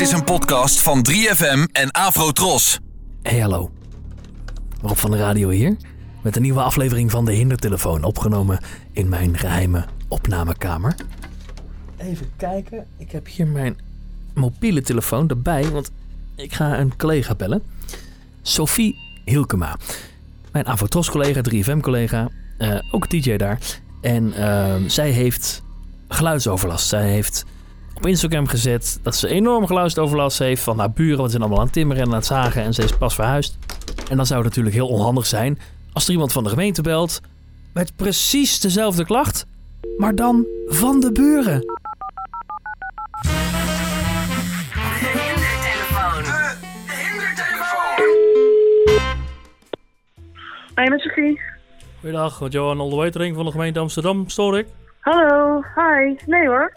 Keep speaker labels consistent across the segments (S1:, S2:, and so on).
S1: is een podcast van 3FM en Afrotros.
S2: Hey hallo, Rob van de Radio hier met een nieuwe aflevering van de Hindertelefoon opgenomen in mijn geheime opnamekamer. Even kijken, ik heb hier mijn mobiele telefoon erbij, want ik ga een collega bellen. Sophie Hilkema, mijn Avotros collega, 3FM collega, eh, ook DJ daar. En ehm, zij heeft geluidsoverlast. Zij heeft op Instagram gezet dat ze enorm geluidsoverlast heeft van haar buren, want ze zijn allemaal aan het timmeren en aan het zagen en ze is pas verhuisd. En dan zou het natuurlijk heel onhandig zijn als er iemand van de gemeente belt met precies dezelfde klacht, maar dan van de buren.
S3: Hoi met Sophie.
S2: Goeiedag, wat Johan Oldewetering van de gemeente Amsterdam, stoor ik.
S3: Hallo, hi. Nee hoor.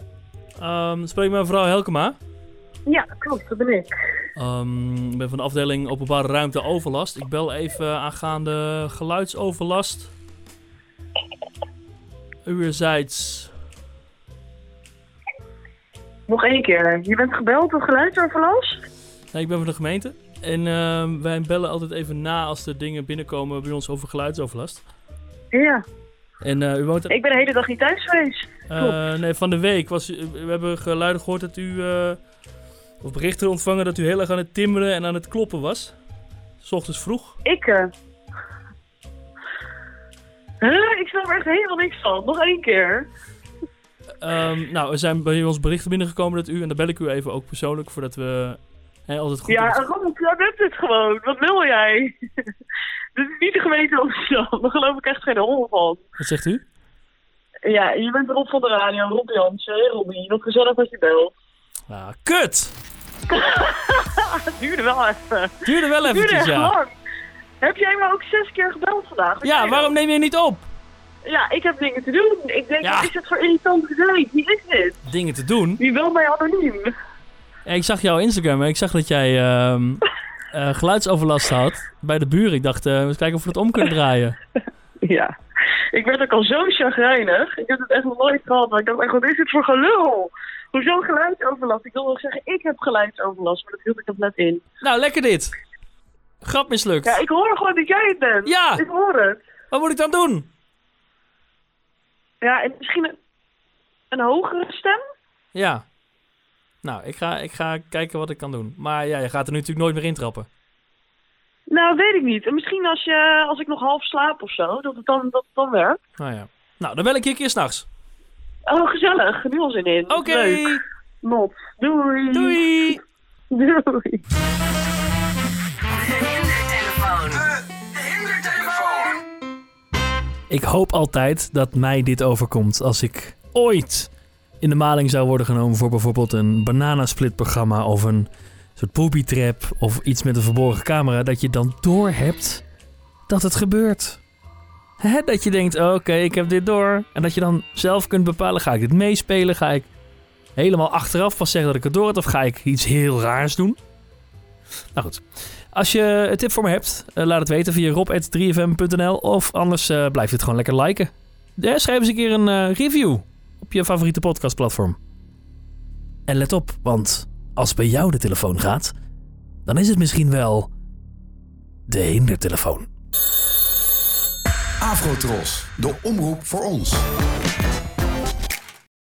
S2: Ehm, spreek met mevrouw Helkema.
S3: Ja, klopt, dat ben ik.
S2: Ehm, ik ben van de afdeling openbare ruimte overlast. Ik bel even aangaande geluidsoverlast. Uwerzijds.
S3: Nog één keer. Je bent gebeld op geluidsoverlast?
S2: Nee, ik ben van de gemeente. En ehm, wij bellen altijd even na als er dingen binnenkomen bij ons over geluidsoverlast.
S3: Ja.
S2: En eh, u woont
S3: Ik ben de hele dag niet thuis geweest.
S2: Eh, nee, van de week. Was, u- we hebben geluiden gehoord dat u. eh, of berichten ontvangen dat u heel erg aan het timmeren en aan het kloppen was. S ochtends vroeg.
S3: Ik, eh... Huh? Ik snap er echt helemaal niks van. Nog één keer.
S2: Ehm, nou, er zijn bij ons berichten binnengekomen dat u. En daar bel ik u even ook persoonlijk voordat we. Hè, altijd goed.
S3: Ja, Rob, jij bent het gewoon. Wat wil jij? Dit is niet de gemeente Amsterdam. Daar geloof ik echt geen hol van.
S2: Wat zegt u?
S3: Ja, je bent Rob van de radio. Rob Jansen. Hey Robbie, wat gezellig dat je belt.
S2: Ah, kut!
S3: Het duurde wel even.
S2: Duurde wel
S3: duurde
S2: eventjes,
S3: echt
S2: ja.
S3: lang. Heb jij me ook zes keer gebeld vandaag?
S2: Ja, waarom neem je niet op?
S3: Ja, ik heb dingen te doen. Ik denk,
S2: Ja.
S3: wat is het voor irritant gezeik? Wie is dit?
S2: Dingen te doen.
S3: Wie wil mij anoniem?
S2: Ja, ik zag jouw Instagram en ik zag dat jij. ehm, eh, geluidsoverlast had bij de buren. Ik dacht, eh eens kijken of we het om kunnen draaien.
S3: Ja. Ik werd ook al zo chagrijnig. Ik heb het echt nog nooit gehad. Maar ik dacht echt, wat is dit voor gelul? Hoezo geluidsoverlast? Ik wil wel zeggen, ik heb geluidsoverlast. Maar dat hield ik nog net in.
S2: Nou, lekker dit. Grap mislukt.
S3: Ja, ik hoor gewoon dat jij het bent.
S2: Ja.
S3: Ik hoor het.
S2: Wat moet ik dan doen?
S3: Ja, en misschien een, een hogere stem?
S2: Ja. Nou, ik ga, ik ga kijken wat ik kan doen. Maar ja, je gaat er nu natuurlijk nooit meer intrappen.
S3: Nou, weet ik niet. En misschien als, je, als ik nog half slaap of zo, dat het dan, dat het dan werkt.
S2: Nou ja. Nou, dan bel ik je een keer s'nachts.
S3: Oh, gezellig. Nu al zin in.
S2: Oké.
S3: Leuk. Not. Doei.
S2: Doei.
S3: Doei.
S2: Ik hoop altijd dat mij dit overkomt als ik ooit in de maling zou worden genomen voor bijvoorbeeld een bananasplit-programma of een soort booby trap of iets met een verborgen camera, dat je dan doorhebt dat het gebeurt. Hè, dat je denkt, "Oh, oké, ik heb dit door. En dat je dan zelf kunt bepalen, ga ik dit meespelen? Ga ik helemaal achteraf pas zeggen dat ik het door had? Of ga ik iets heel raars doen? Nou goed, als je een tip voor me hebt, eh, laat het weten via rob.3fm.nl of anders eh blijf dit gewoon lekker liken. Ja, schrijf eens een keer een eh, review op je favoriete podcastplatform. En let op, want als bij jou de telefoon gaat, dan is het misschien wel de hindertelefoon.
S4: Afrotros, de omroep voor ons.